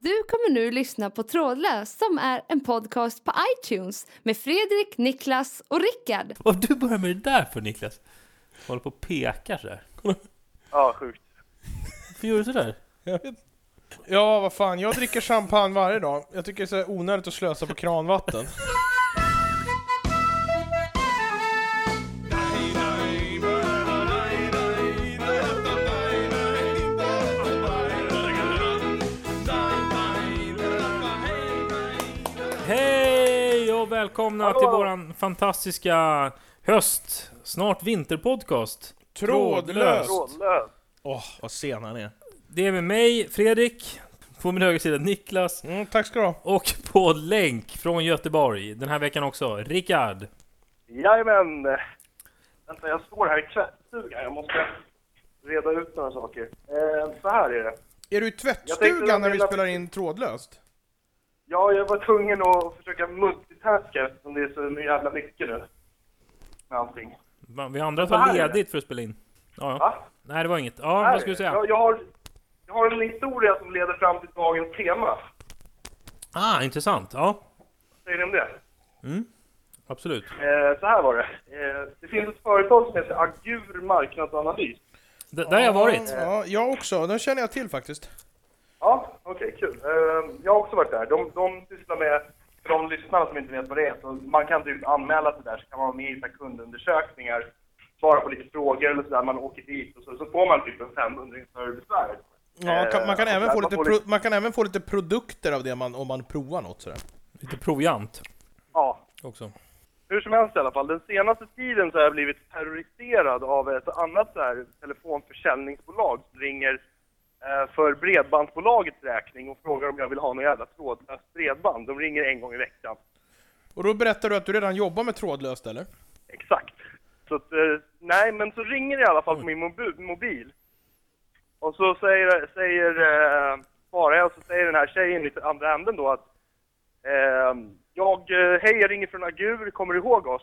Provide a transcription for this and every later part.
Du kommer nu lyssna på Trådlös som är en podcast på iTunes med Fredrik, Niklas och Rickard. Vad du börjar med det där för Niklas? Håller på och pekar sådär. Kolla, Ja, sjukt. Varför gör du sådär? Jag vet. Ja, vad fan. Jag dricker champagne varje dag. Jag tycker det är så här onödigt att slösa på kranvatten. Hej och välkomna till våran fantastiska höst, snart vinterpodcast. Trådlös! Trådlös. Åh, vad sen han är. Det är med mig, Fredrik, på min högra sida Niklas Mm, tack ska du ha. och på länk från Göteborg den här veckan också, Rickard. Jajamän! Vänta, jag står här i tvättstugan. Jag måste reda ut några saker. Eh, så här är det. Är du i Jag tänkte tvättstugan att när vi mina- spelar in trådlöst? Ja, jag var tvungen att försöka multitaska eftersom det är så jävla mycket nu. Med allting. Va, Vi andra Vad tar är det? ledigt för att spela in. Ja, ja. Va? Nej, det var inget. Ja, Här är vad ska det. du säga? Jag, jag, har, jag har en historia som leder fram till dagens tema. Ah, intressant. Ja, Säger ni om det? absolut. Eh, så här var det. Eh, det finns ett företag som heter Agur Marknadsanalys. D där har jag varit. Ja, jag också. Den känner jag till faktiskt. Ja, okej, kul. Eh, jag har också varit där. De, de sysslar med, för de lyssnarna som inte vet vad det är, så man kan typ anmäla sig där så kan man vara med i så här kundundersökningar, svara på lite frågor eller sådär. Man åker dit och så, så får man typ en 500 för besväret. Ja, kan, man, kan Eh, även där få man lite får pro, man kan även få lite produkter av det man, om man provar något sådär. Lite proviant Ja, också. hur som helst i alla fall. Den senaste tiden så har jag blivit terroriserad av ett annat så här telefonförsäljningsbolag som ringer eh, för Bredbandsbolagets räkning och frågar om jag vill ha något jävla trådlöst bredband. De ringer en gång i veckan. Och då berättar du att du redan jobbar med trådlöst eller? Exakt. Så att, eh, nej, men så ringer det i alla fall på min mobu- mobil. Och så säger, säger eh, svarar jag, så säger den här tjejen lite andra änden då att eh, jag, eh, hej jag ringer från Agur, kommer du ihåg oss?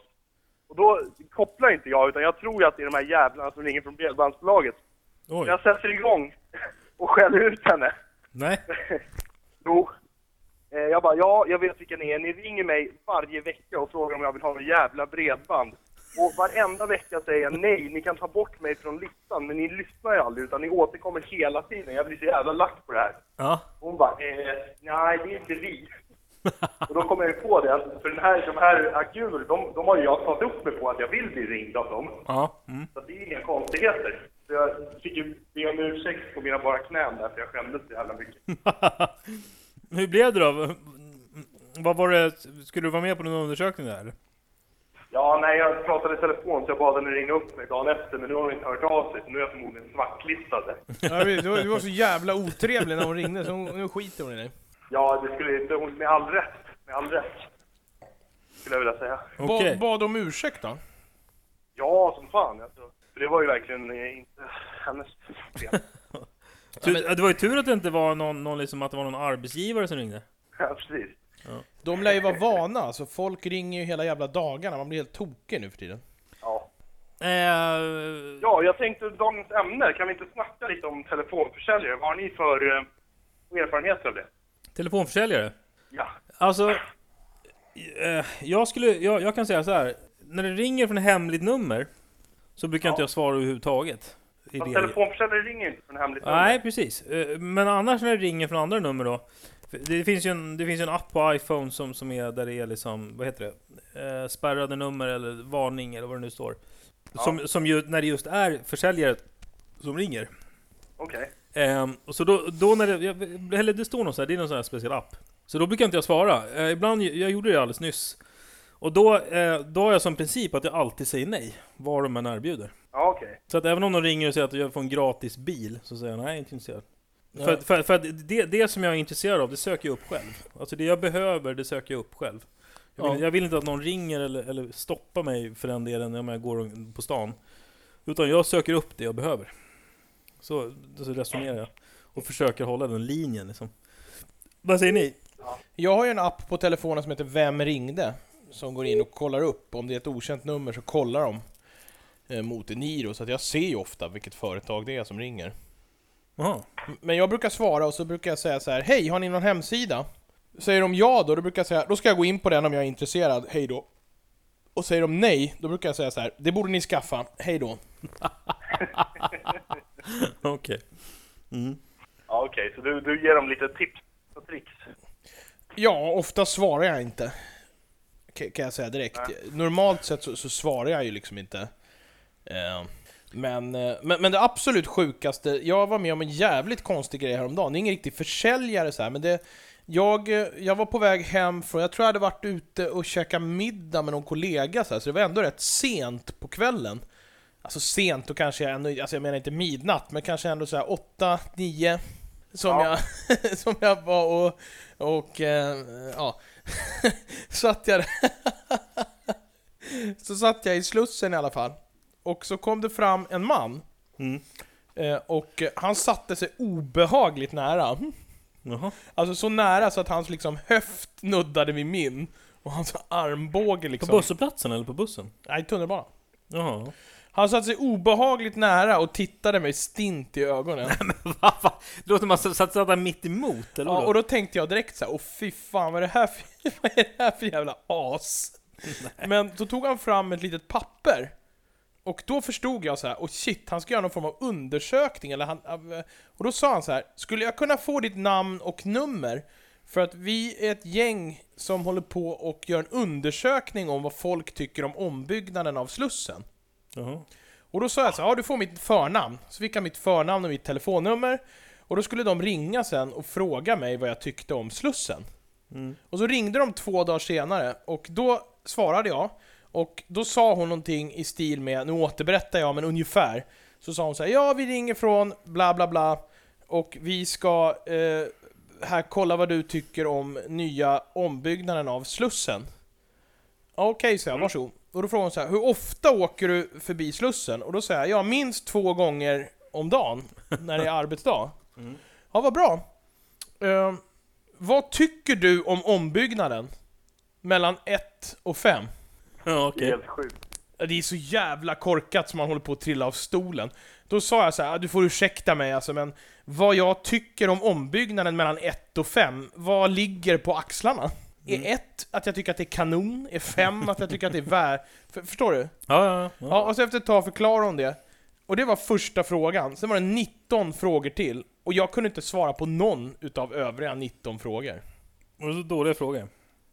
Och då kopplar inte jag, utan jag tror ju att det är de här jävlarna som ringer från Bredbandsbolaget. Oj. Jag sätter igång och skäller ut henne. Nej. Jo. Eh, Jag bara, ja, jag vet vilka ni är. Ni ringer mig varje vecka och frågar om jag vill ha en jävla bredband. Och varenda vecka säger jag nej, ni kan ta bort mig från listan, men ni lyssnar ju aldrig utan ni återkommer hela tiden. Jag blir så jävla lack på det här. Ja. Och hon bara, eh, nej det är inte vi. Och då kom jag ju på det, att för den här, de här Agur, de, de har ju jag tagit upp mig på att jag vill bli ringd av dem. Ja. Mm. Så det är inga konstigheter. Så jag fick ju be om ursäkt på mina bara knän där, för jag skämdes så jävla mycket. Hur blev det då? Vad var det? Skulle du vara med på någon undersökning där? Ja, nej, jag pratade i telefon så jag bad henne ringa upp mig dagen efter, men nu har hon inte hört av sig, så nu är jag förmodligen svartlistad. Ja, du, var, du var så jävla otrevlig när hon ringde så hon, nu skiter hon i dig. Ja, det skulle inte... Hon, med all rätt. Med all rätt. Skulle jag vilja säga. Ba, Okej. Bad om ursäkt då? Ja, som fan alltså. För det var ju verkligen eh, inte hennes fel. Tur- Det var ju tur att det inte var någon, någon liksom, att det var någon arbetsgivare som ringde. Ja, precis. De lär ju vara vana, alltså folk ringer ju hela jävla dagarna, man blir helt tokig nu för tiden. Ja. Eh, ja, jag tänkte dagens ämne, kan vi inte snacka lite om telefonförsäljare? Vad har ni för eh, erfarenhet av det? Telefonförsäljare. Ja. Alltså, eh, jag skulle, jag, jag kan säga så här. När det ringer från hemligt nummer så brukar inte jag svara överhuvudtaget. I Fast det- telefonförsäljare ringer ju inte från hemligt Nej, precis. Eh, Men annars när det ringer från andra nummer då. för Det finns ju en, det finns ju en app på iPhone som, som är där det är liksom, vad heter det? Eh, spärrade nummer eller varning eller vad det nu står. Som, som ju, när det just är försäljare som ringer. Okej. Ehm, och så då, då när det, jag- eller det står någon sån här, det är någon sån här speciell app. Så då brukar inte jag svara. Eh, ibland, jag gjorde det alldeles nyss. Och då, eh, då har jag som princip att jag alltid säger nej, vad de än erbjuder. Ja, okej. Så att även om de ringer och säger att jag får en gratis bil, så säger jag nej, jag är inte intresserad. För, att- för, för att det, det som jag är intresserad av, det söker jag upp själv. Alltså det jag behöver, det söker jag upp själv. Jag vill, Ja. jag vill inte att någon ringer eller, eller stoppar mig för den delen om jag går på stan. Utan jag söker upp det jag behöver. Så, så resonerar jag. Och försöker hålla den linjen liksom. Vad säger ni? Jag har ju en app på telefonen som heter Vem ringde? Som går in och kollar upp, om det är ett okänt nummer så kollar de eh, mot en Niro, så att jag ser ju ofta vilket företag det är som ringer. Jaha. Men jag brukar svara och så brukar jag säga så här, hej, har ni någon hemsida? Säger de ja då, då brukar jag säga, då ska jag gå in på den om jag är intresserad, hej då. Och säger de nej, då brukar jag säga så här, det borde ni skaffa, hej då. Okej. Ja, okej, så du, du ger dem lite tips och tricks. Ja, ofta svarar jag inte. Ka- Kan jag säga direkt. Normalt sett så, så svarar jag ju liksom inte. Eh, Men, eh, men, men det absolut sjukaste, jag var med om en jävligt konstig grej häromdagen. Det är ingen riktig försäljare så här, men det... Jag, eh, jag var på väg hem från, jag tror jag hade varit ute och käkat middag med någon kollega så, här, så det var ändå rätt sent på kvällen. Alltså sent och kanske ändå, alltså jag menar inte midnatt, men kanske ändå så här åtta, nio. Som, Ja. jag, som jag var och... och eh, ja. satt jag där. Så satt jag i Slussen i alla fall. Och så kom det fram en man. Mm. Eh, och eh, han satte sig obehagligt nära. Jaha. Alltså så nära så att hans liksom höft nuddade vid min. Och hans armbåge På liksom... busshållplatsen eller på bussen? Nej, tunnelbanan. Jaha. Han satte sig obehagligt nära och tittade mig stint i ögonen. Va, va? Det låter som att man satt satt där mitt emot eller Ja, vadå? och då tänkte jag direkt så här, åh fy fan vad är det här för, vad är det här för jävla as? Men då tog han fram ett litet papper. Och då förstod jag så här, och shit, han ska göra någon form av undersökning eller han, av- eh, Och då sa han så här, skulle jag kunna få ditt namn och nummer? För att vi är ett gäng som håller på och gör en undersökning om vad folk tycker om ombyggnaden av Slussen. Jaha. Och då sa jag så här, ja du får mitt förnamn. Så fick han mitt förnamn och mitt telefonnummer. Och då skulle de ringa sen och fråga mig vad jag tyckte om Slussen. Och så ringde de två dagar senare och då svarade jag. Och då sa hon någonting i stil med, nu återberättar jag men ungefär. Så sa hon så här, ja vi ringer från bla bla bla. Och vi ska eh, här kolla vad du tycker om nya ombyggnaden av Slussen. Ja, Okej, så jag, varsågod. Och då frågar hon så här, hur ofta åker du förbi Slussen? Och då säger jag, ja minst två gånger om dagen, när det är arbetsdag. Ja, vad bra. Ehm, vad tycker du om ombyggnaden? Mellan 1 och 5? Ja, Det är okej. helt sjukt. Ja, Det är så jävla korkat som man håller på att trilla av stolen. Då sa jag så här, "Ah, du får ursäkta mig alltså, men vad jag tycker om ombyggnaden mellan 1 och 5, vad ligger på axlarna? Är Mm. 1 att jag tycker att det är kanon? Är 5 att jag tycker att det är vär... För, förstår du? Ja, ja, ja. Ja, och så efter ett tag förklarade hon det. Och det var första frågan. Sen var det 19 frågor till. Och jag kunde inte svara på någon utav övriga 19 frågor. Det var så dåliga frågor.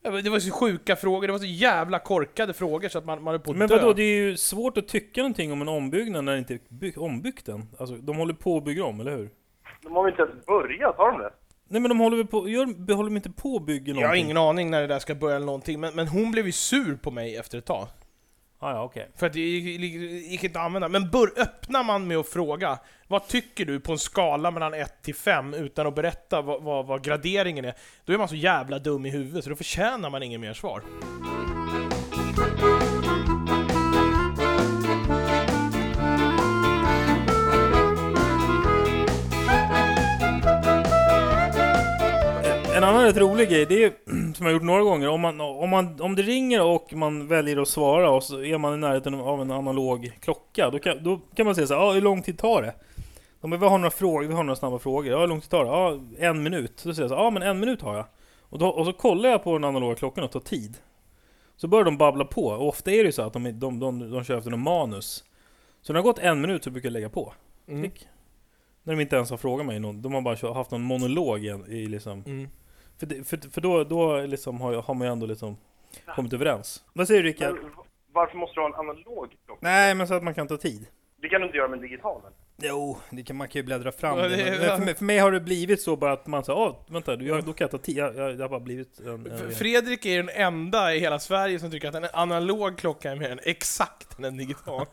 Ja, men Det var så sjuka frågor, det var så jävla korkade frågor så att man, man höll på att Men dö. vadå, det är ju svårt att tycka någonting om en ombyggnad när det inte är by- ombyggt än. Alltså, de håller på att bygga om, eller hur? De har väl inte ens börjat, har de det? Nej men de håller väl på, gör, de- håller de inte på att bygga någonting? Jag har ingen aning när det där ska börja eller någonting, men, men hon blev ju sur på mig efter ett tag. Ah, ja, okej. För att det gick, gick- gick inte att använda. Men bör, öppnar man med att fråga Vad tycker du på en skala mellan 1 till 5 utan att berätta vad, vad, vad graderingen är? Då är man så jävla dum i huvudet så då förtjänar man ingen mer svar. En annan rätt rolig grej, det är ju, som jag har gjort några gånger, om, man, om, man, om det ringer och man väljer att svara och så är man i närheten av en analog klocka, då kan, då kan man säga så här, ah, hur lång tid tar det? De bara, vi har några frågor, vi har några snabba frågor, ja, hur lång tid tar det? Ja, en minut. Så säger jag så ja ah, men en minut har jag. Och, då, och så kollar jag på den analoga klockan och tar tid. Så börjar de babbla på, och ofta är det ju så att de, de, de, de, de kör efter någon manus. Så när det har gått en minut så brukar jag lägga på. Mm. Klick. När de inte ens har frågat mig någon, de har bara kört- haft någon monolog i, i liksom Mm. för, det, för, för då, då liksom har, jag- har man ju ändå liksom kommit överens. Vad säger du Rickard? Men v- varför måste du ha en analog klocka? Nej, men så att man kan ta tid. Det kan du inte göra med en digital? eller? Jo, det kan, man kan ju bläddra fram Ja, det. det är- Mm. Men, men för, mig, för mig har det blivit så bara att man säger ah, vänta, du, jag, då kan jag ta tid. Jag, jag, det har bara blivit en... en F- Fredrik är den enda i hela Sverige som tycker att en analog klocka är mer än exakt än en digital.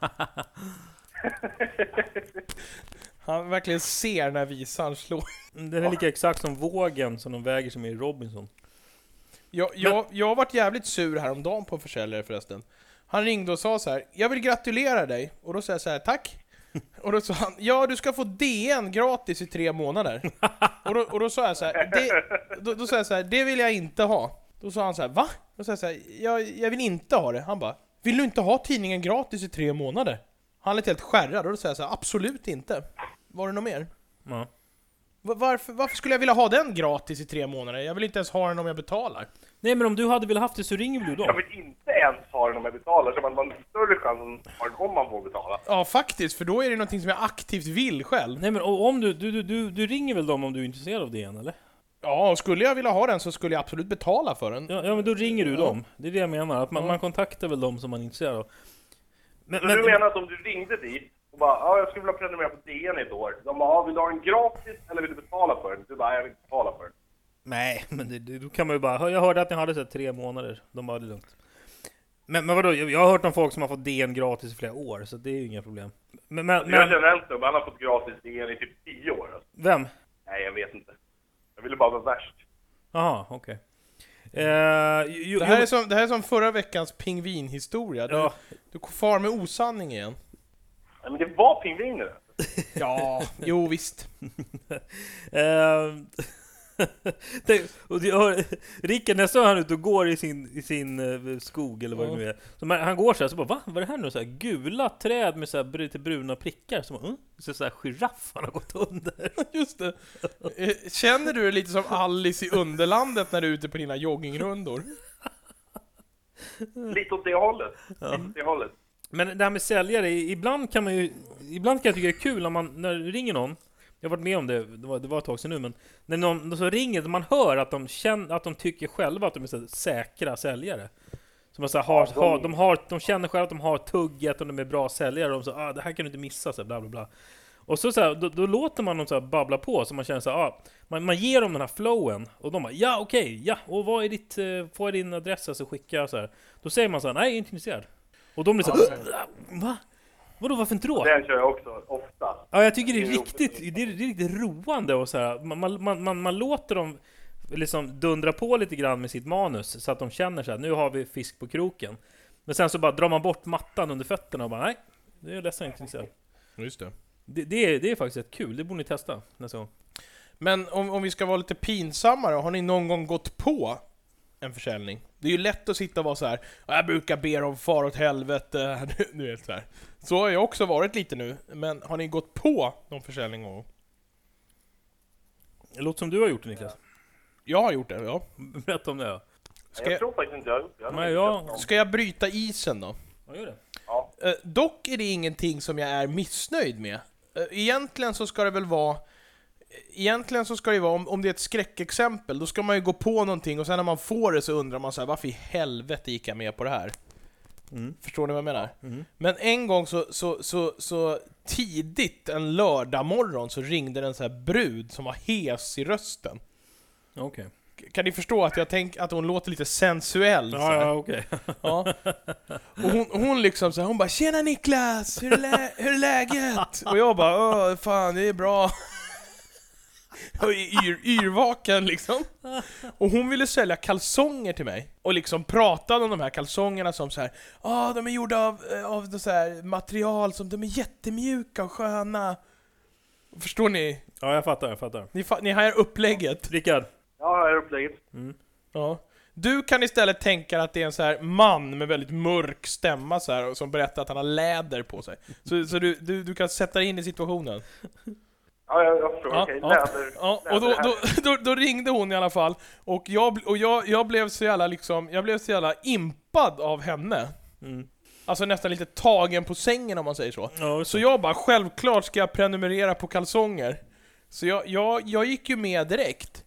Han verkligen ser när visaren slår. den är lika exakt som vågen som de väger som är i Robinson. Jag, jag, jag har varit jävligt sur häromdagen på en försäljare förresten. Han ringde och sa så här. jag vill gratulera dig. Och då sa jag så här, tack. Och då sa han, ja du ska få DN gratis i tre månader. Och då, och då sa jag så här, det, då, då sa jag så här, det vill jag inte ha. Då sa han så här, va? Då sa jag så här, jag, jag vill inte ha det. Han bara, vill du inte ha tidningen gratis i tre månader? Han lät helt skärrad och då sa jag så här, absolut inte. Var det något mer? Ja. Va- Varför, varför skulle jag vilja ha den gratis i tre månader? Jag vill inte ens ha den om jag betalar. Nej men om du hade velat haft det så ringer väl du Jag då? vill inte ens ha den om jag betalar, så man har en större chans att ha den om man får betala. Ja, faktiskt, för då är det någonting som jag aktivt vill själv. Nej men o- om du, du, du, du, du ringer väl dem om du är intresserad av det igen eller? Ja, och skulle jag vilja ha den så skulle jag absolut betala för den. Ja, ja men då ringer du dem. Det är det jag menar, att man, man kontaktar väl dem som man är intresserad av. Men, Så du menar att om du ringde dit och bara ja, jag skulle vilja prenumerera på DN i ett år. De bara, ja, vill du ha den gratis eller vill du betala för den? Du bara, "Ja, jag vill betala för den. Nej, Mm. men det, det, då kan man ju bara, "Hör, jag hörde att ni hade så här, tre månader, de bara, det är lugnt. Men, men vadå, jag jag har hört om folk som har fått DN gratis i flera år, så det är ju inga problem. Men, men, Jag men känner en snubbe, han har fått gratis DN i typ 10 år. Alltså. vem? Nej, jag vet inte. Jag ville bara vara värst. Jaha, okej. Eh, ju- ju- Det här jo, är som, det här är som förra veckans pingvinhistoria. Du, Ja. du far med osanning igen. Nej, men det var pingviner. Ja, jo visst. Ehm, Tänk- och jag hör, Rickard nästa gång han är ute och går i sin, i sin eh, skog eller vad det Ja. nu är så man, Han går så här, så bara va? Vad är det här nu? Så här, gula träd med så här, br- lite bruna prickar så, bara, mm? så, så här giraff han har gått under Just det. Eh, Känner du dig lite som Alice i Underlandet när du är ute på dina joggingrundor? Lite åt det hållet. Lite åt det hållet. Men det här med säljare, i- ibland kan man ju Ibland kan jag tycka det är kul när man när det ringer någon Jag har varit med om det, det var, det var ett tag sedan nu men När någon så ringer, man hör att de, känner, att de tycker själva att de är så här, säkra säljare så man så här, har, Ja, de- har, de, har, de känner själva att de har tugget och de är bra säljare och de så ah, det här kan du inte missa, så här, bla bla bla Och så, så här, då, då låter man dem så här, babbla på så man känner så här, ah, man, man ger dem den här flowen och de bara ja okej, ja och vad är ditt, eh, får jag din adress så alltså, skickar jag så här Då säger man så här, nej jag är inte intresserad och de blir så här, va? Vadå varför inte då? Den kör jag också, ofta. Ja, jag tycker det är Det är roligt. riktigt, det är, det är riktigt roande och så här. Man, man, man, man, man låter dem liksom dundra på lite grann med sitt manus så att de känner så här, nu har vi fisk på kroken. Men sen så bara drar man bort mattan under fötterna och bara nej, det är jag ledsen inte intresserad. Just det. Det, det, är, det är faktiskt rätt kul, det borde ni testa nästa gång. Men om, om vi ska vara lite pinsammare, har ni någon gång gått på en försäljning? Det är ju lätt att sitta och vara så här. "Ja, jag brukar be dem far åt helvete, du- du vet så här. Så har jag också varit lite nu, men har ni gått på någon försäljning någon gång? Det låter som du har gjort det Niklas. Jag har gjort det, ja. Berätta om det. ja. Ska Jag jag, tror faktiskt inte jag har gjort det. Jag har Nej, inte jag- sett någon. ska jag bryta isen då? Ja, gör det. Ja. Eh, dock är det ingenting som jag är missnöjd med. Eh, egentligen så ska det väl vara... Egentligen så ska det ju vara, om, om det är ett skräckexempel, då ska man ju gå på någonting och sen när man får det så undrar man så här, varför i helvete gick jag med på det här? Mm. Förstår ni vad jag menar? Men en gång så, så, så, så tidigt en lördag morgon så ringde en så här brud som var hes i rösten. Ja, Okej. K- Kan ni förstå att jag tänker att hon låter lite sensuell? så Ja, här? ja, okej. Ja. Och hon, hon liksom så här, hon bara 'Tjena Niklas! Hur är, lä- hur är läget?' Och jag bara 'Åh, fan det är bra' Och y- yr, yrvaken liksom. Och hon ville sälja kalsonger till mig. Och liksom pratade om de här kalsongerna som så här, ah de är gjorda av, eh, av så här material som, de är jättemjuka och sköna. Förstår ni? Ja, jag fattar, jag fattar. Ni, fa- ni hajar upplägget. Rickard, Ja, här är upplägget. Ja. Du kan istället tänka att det är en så här man med väldigt mörk stämma så här, och som berättar att han har läder på sig. Så, så du, du, du kan sätta dig in i situationen. Ja, jag, jag förstår. Ja, Okej, ja. läder. Ja, och då, läder här. då, då, då ringde hon i alla fall, och jag, bl- och jag, jag blev så jävla liksom, jag blev så jävla impad av henne. Alltså nästan lite tagen på sängen om man säger så. Ja, just så jag bara, självklart ska jag prenumerera på kalsonger. Så jag, jag, jag gick ju med direkt.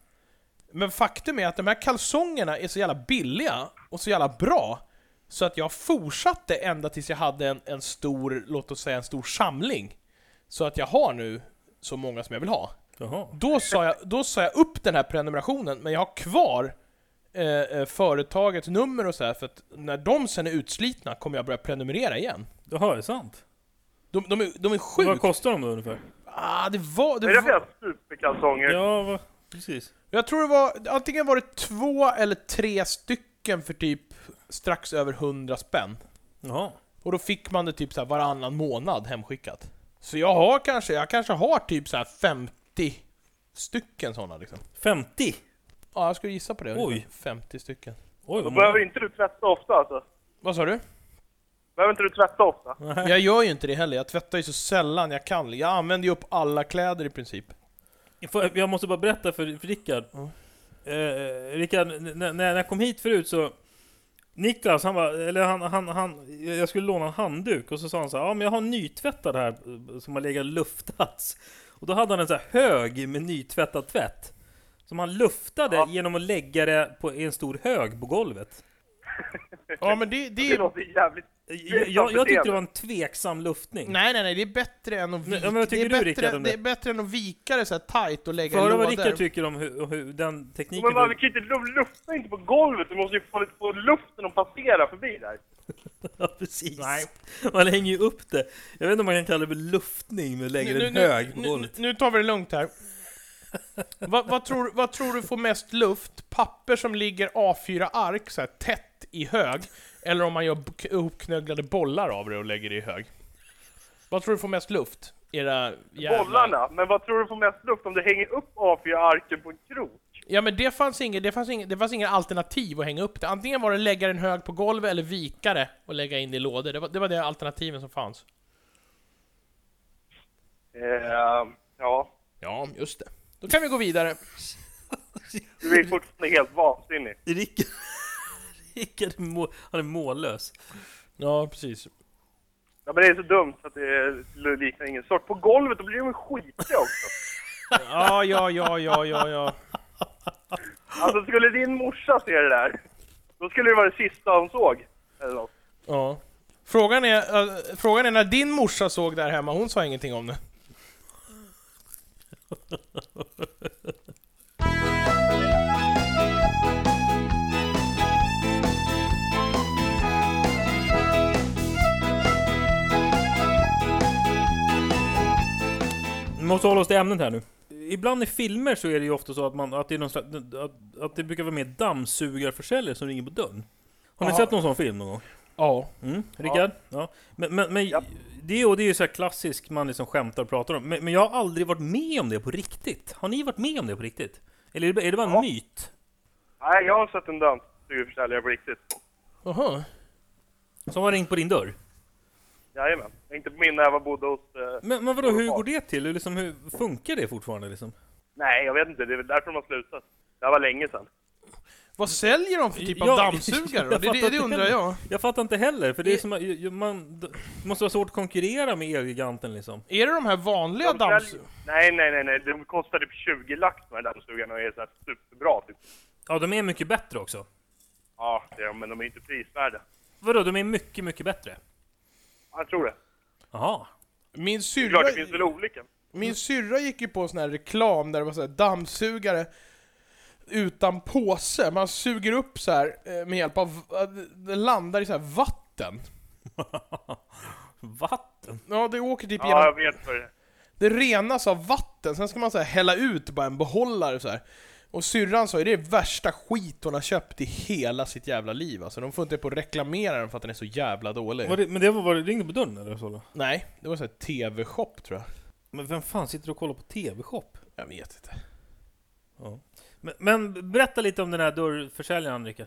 Men faktum är att de här kalsongerna är så jävla billiga och så jävla bra. Så att jag fortsatte ända tills jag hade en, en stor, låt oss säga en stor samling. Så att jag har nu så många som jag vill ha. jaha. Då sa, jag, då sa jag upp den här prenumerationen, men jag har kvar eh, eh, företagets nummer och så här, för att när de sen är utslitna kommer jag börja prenumerera igen. Jaha, är det sant? De, de, är, de är Vad sjukt... kostar de då ungefär? Ah, det var, Är det det var, flera superkalsonger? Ja, vad- precis. jag tror det var... Antingen var det två eller tre stycken för typ strax över 100 spänn. Jaha. Och då fick man det typ så här varannan månad hemskickat. Så jag har kanske, jag kanske har typ så här 50 stycken sådana liksom. 50? Ja, jag skulle gissa på det. Oj. ungefär 50 stycken. Oj, Då vad behöver många. inte du tvätta ofta alltså? Vad sa du? Behöver inte du tvätta ofta? Jag gör ju inte det heller, jag tvättar ju så sällan jag kan. Jag använder ju upp alla kläder i princip. Får- Jag måste bara berätta för, för Rickard. Eh, Rickard, n- n- när när jag kom hit förut så... Niklas, han var, eller han, han, han, jag skulle låna en handduk och så sa han så här, ja men jag har en nytvättad här eh, som har legat luftats. Och då hade han en så här hög med nytvättad tvätt. Som han luftade Ja. genom att lägga det på i en stor hög på golvet. Eh, Ja, men det, det Det är... låter jävligt... Jag, jag, jag tyckte det var en tveksam luftning. Nej, nej, nej, det är bättre än att Men- vika ja, men vad det, tycker är du, bättre, Rickard, om det det? är bättre än att vika det så här tight och lägga Får jag höra i vad lådor. Rickard tycker om hur, hur den tekniken... Men man kan ju inte lu- lufta inte på golvet, du måste ju få, lite- få luften att passera förbi där. Ja, precis. Nej. Man hänger ju upp det. Jag vet inte om man kan kalla det för luftning, men lägger en hög på nu, nu, golvet. nu tar vi det lugnt här. vad, vad, tror, vad tror du får mest luft? Papper som ligger A4-ark så här tätt i hög, eller om man gör b- ihopknögglade bollar av det och lägger det i hög? Vad tror du får mest luft? Era jävla... Bollarna, men vad tror du får mest luft om du hänger upp A4-arken på en krok? Ja men det fanns inget, det fanns inget, det fanns inget alternativ att hänga upp det. Antingen var det lägga den hög på golvet eller vika det och lägga in det i lådor. Det var det, var det alternativen som fanns. Eh, ja, Ja, just det. Då kan vi gå vidare. du är fortfarande helt vansinnig. Rickard, Rickard är må, han är mållös. Ja, precis. Ja, men det är så dumt så att det liknar ingen sort. På golvet, då blir de ju skitiga också. Ja, ja, ja, ja, ja, ja. Alltså skulle din morsa se det där, då skulle det vara det sista hon såg. Eller något. ja. Frågan är, eh, frågan är när din morsa såg där hemma, hon sa ingenting om det. Vi måste hålla oss till ämnet här nu. Ibland i filmer så är det ju ofta så att, man, att, det, är någon slags, att, att det brukar vara mer dammsugarförsäljare som ringer på dörren. Har ni Ja. sett någon sån film någon gång? Ja. Mm, Rickard? Ja. Men, men, men Japp. det, och det är ju så här klassiskt man liksom skämtar och pratar om. Men, men jag har aldrig varit med om det på riktigt. Har ni varit med om det på riktigt? Eller är det, är det bara en Ja. myt? Nej, jag har sett en dammsugarförsäljare på riktigt. Aha. Som har ringt på din dörr? Jajamän. Jag inte på min när jag var bodde hos... Eh, Men, men vadå, hur går det till? Hur, liksom, hur funkar det fortfarande liksom? nej, jag vet inte. Det är väl därför de har slutat. Det här var länge sedan. Vad säljer de för typ av Ja, dammsugare? då? jag Det, fattar det, det inte undrar heller. jag. Jag fattar inte heller, för det är Det- som att- ju- ju- man d- det måste vara svårt att konkurrera med Elgiganten liksom. Är det de här vanliga De säljer- dammsugarna? Nej, nej, nej, nej. De kostar typ 20 lax de här dammsugarna och är så här superbra typ. Ja, de är mycket bättre också. Ja, det är, de, men de är inte prisvärda. Vadå, de är mycket, mycket bättre? Jag tror det. Jaha. Min Det är klart, syrra... det finns väl olika. Min syrra gick ju på sån här reklam där det var så här dammsugare utan påse. Man suger upp så här eh, med hjälp av... eh, Det landar i så här vatten. Vatten? Ja, det åker typ Ja, jag genom... vet vad det är. Det renas av vatten, sen ska man så här hälla ut bara en behållare så här. Och syrran sa ju det är värsta skit hon har köpt i hela sitt jävla liv alltså. De får inte på att reklamera den för att den är så jävla dålig. Var det, men det var, var det ringde på dörren eller så? Då? Nej, det var så här TV-shop tror jag. Men vem fan sitter och kollar på TV-shop? Jag vet inte. Ja. Men, men berätta lite om den här dörrförsäljaren, Rickard.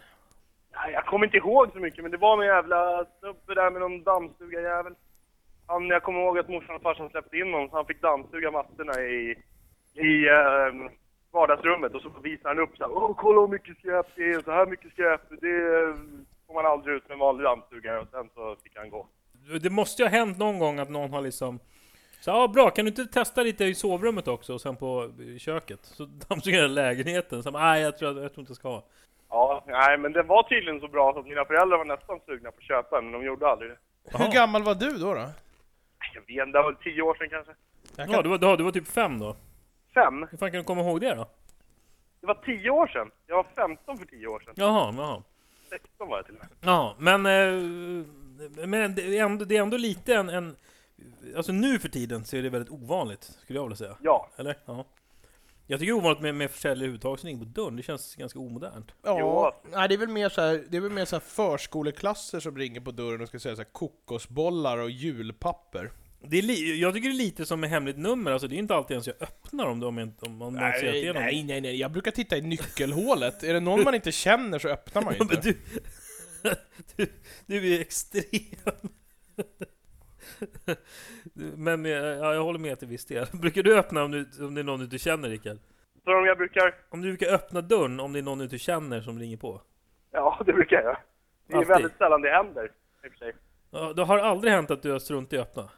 Nej, jag kommer inte ihåg så mycket, men det var någon jävla snubbe där med någon dammsugarjävel. Han, jag kommer ihåg att morsan och farsan släppte in honom, så han fick dammsuga mattorna i, i eh, vardagsrummet. Och så visade han upp så här, Åh, kolla hur mycket skräp det är, så här mycket skräp. Det eh, får man aldrig ut med en vanlig dammsugare. Och sen så fick han gå. Det måste ju ha hänt någon gång att någon har liksom... Så, ja, bra, kan du inte testa lite i sovrummet också och sen på i köket? Så dammsuger jag lägenheten. Så, nej, jag tror, jag tror inte jag ska ha. Ja, nej, men det var tydligen så bra så att mina föräldrar var nästan sugna på att köpa en, men de gjorde aldrig det. Jaha. Hur gammal var du då? då? Jag vet inte, det var tio år sedan kanske. Jag Ja, kan... du var, ja, du var typ fem då? Fem? Hur fan kan du komma ihåg det då? Det var tio år sedan. Jag var 15 för tio år sedan. Jaha, jaha. 16 var jag till och med. Jaha, men... Eh, men det är ändå, det är ändå lite en, en... Alltså nu för tiden så är det väldigt ovanligt, skulle jag vilja säga. Ja. Eller? Ja. Jag tycker det är ovanligt med, med försäljare överhuvudtaget som ringer på dörren. Det känns ganska omodernt. Jo, Ja, alltså. nej, det är väl mer så här, det är väl mer så här förskoleklasser som ringer på dörren och ska säga så här kokosbollar och julpapper. Det är li- jag tycker det är lite som med hemligt nummer, alltså det är inte alltid ens jag öppnar om, det, om, jag, inte- om man om man ser att det är någon. nej, nej, nej, jag brukar titta i nyckelhålet. är det någon man inte känner så öppnar man ju Men inte. du, du, du är ju extrem. Men eh, ja, jag håller med till viss del. Brukar du öppna om, du, om det är någon du inte känner, Rickard? Så om jag brukar... Om du brukar öppna dörren om det är någon du inte känner som ringer på? Ja, det brukar jag. Det är Alltid. väldigt sällan det händer, i och för sig. Ja, Det har aldrig hänt att du har struntat i att öppna?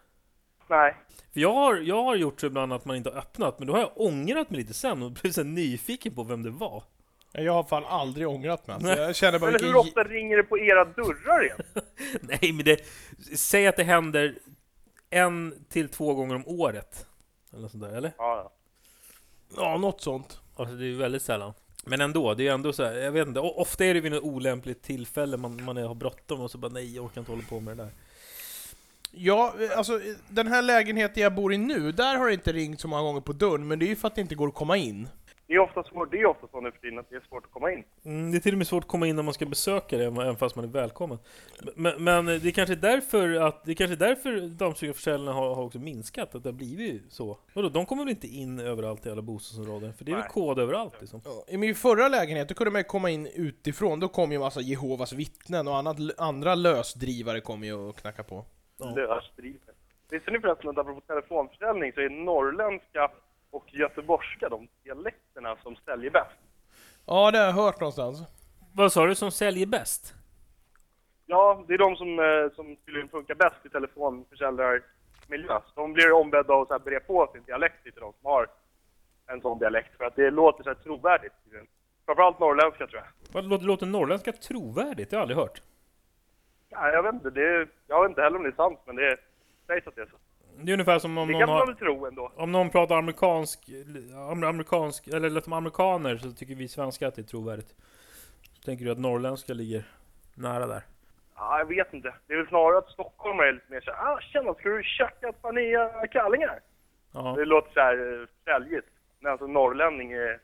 Nej. För jag har, jag har gjort så ibland att man inte har öppnat, men då har jag ångrat mig lite sen och blivit så här nyfiken på vem det var. Jag har fan aldrig ångrat mig. Alltså. Jag känner bara Eller vilken... hur ofta ringer det på era dörrar igen? Nej, men det... Säg att det händer en till två gånger om året. Eller något sånt där, eller? Ja, ja. Ja, något sånt. Alltså det är ju väldigt sällan. Men ändå, det är ju ändå så här, jag vet inte, o- ofta är det vid något olämpligt tillfälle man, man är, har bråttom och så bara nej, jag orkar inte hålla på med det där. Ja, alltså den här lägenheten jag bor i nu, där har det inte ringt så många gånger på dörren, men det är ju för att det inte går att komma in. Det är ofta svårt, det är ofta så nu för tiden att det är svårt att komma in. Mm, det är till och med svårt att komma in när man ska besöka det, även fast man är välkommen. Men, men det är kanske är därför att, det är kanske är därför dammsugarförsäljarna har, har också minskat, att det har blivit så. Vadå, de kommer väl inte in överallt i alla bostadsområden? För det är väl Nej. kod överallt liksom? I min förra lägenhet, då kunde man ju komma in utifrån, då kom ju massa Jehovas vittnen och annat, andra lösdrivare kom ju och knacka på. Ja. Lösdrivet. Visste ni förresten att apropå telefonförsäljning så är norrländska och göteborgska de dialekterna som säljer bäst? Ja, det har jag hört någonstans. Vad sa du, som säljer bäst? Ja, det är de som, eh, som tydligen funkar bäst i telefonförsäljarmiljö. Så de blir ombedda att så här bre på sin dialekt till de som har en sån dialekt för att det låter så här trovärdigt. tydligen. Framförallt norrländska tror jag. Vad låter, låter norrländska trovärdigt? Det har jag aldrig hört. Ja, jag vet inte, det är, jag vet inte heller om det är sant men det sägs att det är så. Det är ungefär som om Det någon kan har... man väl tro ändå. Om någon pratar amerikansk, amer- amerikansk eller lät som amerikaner så tycker vi svenskar att det är trovärdigt. Så tänker du att norrländska ligger nära där? Ja, jag vet inte. Det är väl snarare att stockholmare är lite mer såhär, ah tjena, ska du tjacka ett par nya kallingar? Ja. Det låter såhär eh, säljigt. Men alltså norrlänning är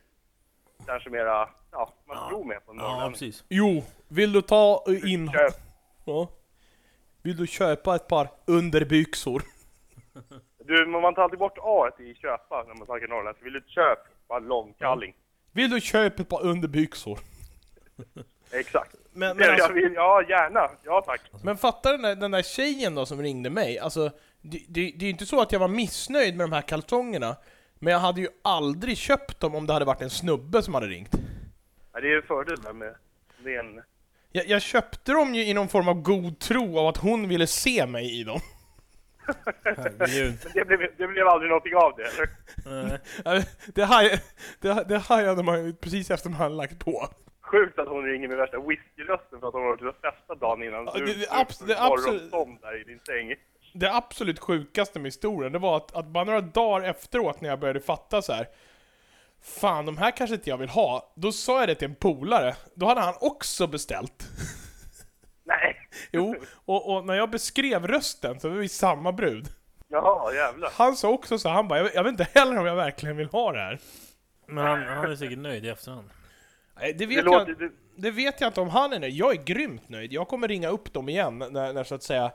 kanske mera, ja, man tror mer på en ja, norrlänning. precis. Jo, vill du ta in... Köp. Ja. Vill du köpa ett par underbyxor? Du, men man tar alltid bort A i köpa när man snackar norrländska. Vill du köpa en långkalling? Vill du köpa ett par underbyxor? Exakt. Men, Ja, men, alltså, jag vill, ja, gärna. Ja, tack. men fatta den där, den där tjejen då som ringde mig, alltså det, det, det är ju inte så att jag var missnöjd med de här kalsongerna Men jag hade ju aldrig köpt dem om det hade varit en snubbe som hade ringt Ja, det är ju fördelen med det är en... Jag, jag köpte dem ju i någon form av god tro av att hon ville se mig i dem Herregud. Men det blev, det blev aldrig någonting av det, eller? Nej. Det, haj, det, det hajade man ju precis efter man hade lagt på Sjukt att hon ringer med värsta whiskyrösten för att hon har varit ute och festat dagen innan. Ja, det- det- Du- du- abs- det- du- absolut- morgonstånd där i din säng. det absolut sjukaste med historien, det var att, att bara några dagar efteråt när jag började fatta så här. Fan, de här kanske inte jag vill ha. Då sa jag det till en polare. Då hade han också beställt. Nej! Jo, och, och när jag beskrev rösten så var vi samma brud. Jaha, jävlar. Han sa också så här, han bara, jag, jag vet inte heller om jag verkligen vill ha det här. Men han, han är säkert nöjd i efterhand. Nej, det vet, Det jag, låter... Det, det vet jag inte om han är nöjd. Jag är grymt nöjd. Jag kommer ringa upp dem igen när, när så att säga,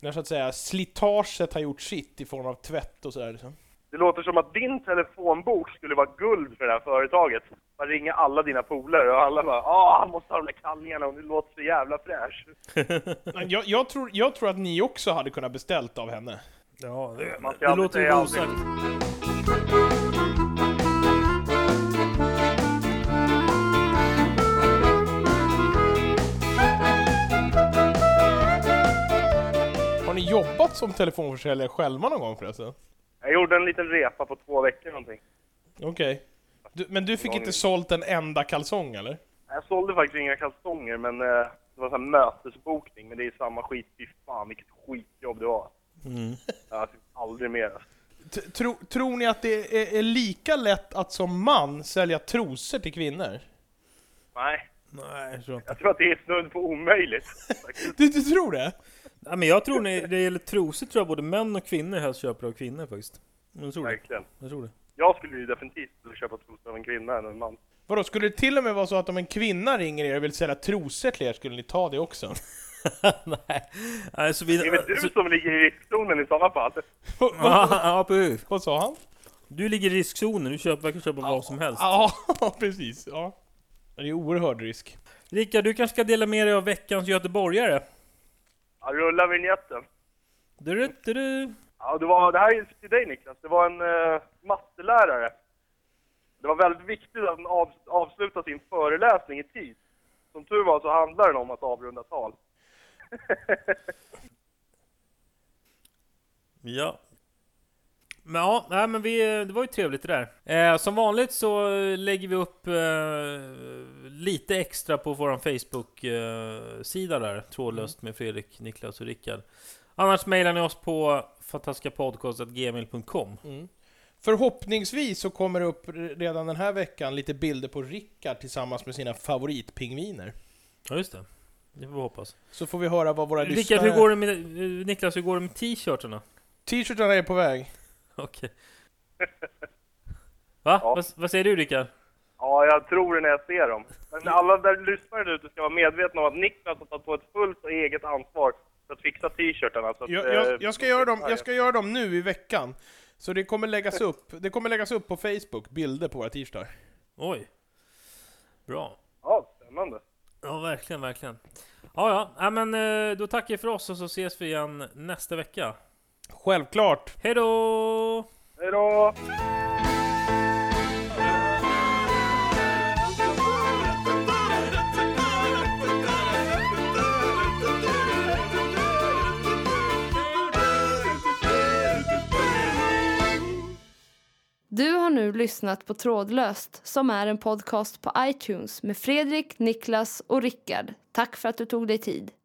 när så att säga slitaget har gjort sitt i form av tvätt och sådär liksom. det låter som att din telefonbok skulle vara guld för det här företaget. Man ringer alla dina polare och alla bara ”Ah, han måste ha de där kallingarna och det låter så jävla fräsch”. Men jag, jag, tror, jag tror att ni också hade kunnat beställt av henne. Ja, det, Man ska det aldrig låter ju säga osagt. Har ni jobbat som telefonförsäljare själva någon gång förresten? Jag gjorde en liten repa på två veckor någonting. Okej. Du, Men du fick Någon- inte sålt en enda kalsong eller? Jag sålde faktiskt inga kalsonger men eh, det var sån här mötesbokning. Men det är samma skit. Fy fan vilket skitjobb det var. Mm. Jag fick aldrig mer. T- tro, tror ni att det är, är lika lätt att som man sälja trosor till kvinnor? Nej, Nej, jag tror inte. jag tror att det är snudd på omöjligt. faktiskt. Du, du tror det? Nej, men jag tror när det gäller trosor tror jag både män och kvinnor helst köper av kvinnor faktiskt. Jag tror det. Verkligen. Jag tror det. Jag skulle ju definitivt köpa trosor av en kvinna än en man. Vadå, skulle det till och med vara så att om en kvinna ringer er och vill sälja trosor till er, skulle ni ta det också? Nej. Nej, så vi... Det är väl du som ligger i riskzonen i sådana fall? Vad- vad- Ja, precis. Vad sa han? Du ligger i riskzonen, du köper, verkar köpa vad som helst. Ja, precis. Ja. Det är ju oerhörd risk. Rickard, du kanske ska dela med dig av veckans göteborgare? Ja, rulla vignetten. Du, du, du. Ja, det, var, det här är till dig Niklas. Det var en eh, mattelärare. Det var väldigt viktigt att han av, avsluta sin föreläsning i tid. Som tur var så handlar den om att avrunda tal. Ja. Men ja, nej, men vi, det var ju trevligt det där. Eh, som vanligt så eh, lägger vi upp eh, lite extra på vår Facebook-sida där, trådlöst med Fredrik, Niklas och Rickard. Annars mejlar ni oss på fantastiskapodcast.gmail.com. Förhoppningsvis så kommer det upp redan den här veckan lite bilder på Rickard tillsammans med sina favoritpingviner. Ja, just det. Det får vi hoppas. Så får vi höra vad våra Rickard, lyssnare... hur går det med, eh, Niklas, hur går det med t-shirtarna? T-shirtarna är på väg. Okej. Va? Ja. Vad, vad säger du Rickard? Ja, jag tror det när jag ser dem. Men alla där lyssnare där ute ska vara medvetna om att Niklas har tagit på ett fullt och eget ansvar för att fixa t-shirtarna. Så att, Jag, jag, eh, jag, ska göra dem, jag ska göra dem nu i veckan. Så det kommer läggas upp, det kommer läggas upp på Facebook, bilder på våra t-shirtar. Oj. Bra. Ja, spännande. Ja, verkligen, verkligen. Ja, ja, ja men eh, då tackar vi för oss och så ses vi igen nästa vecka. Självklart! Hej då! Hej då! Du har nu lyssnat på Trådlöst som är en podcast på iTunes med Fredrik, Niklas och Rickard. Tack för att du tog dig tid.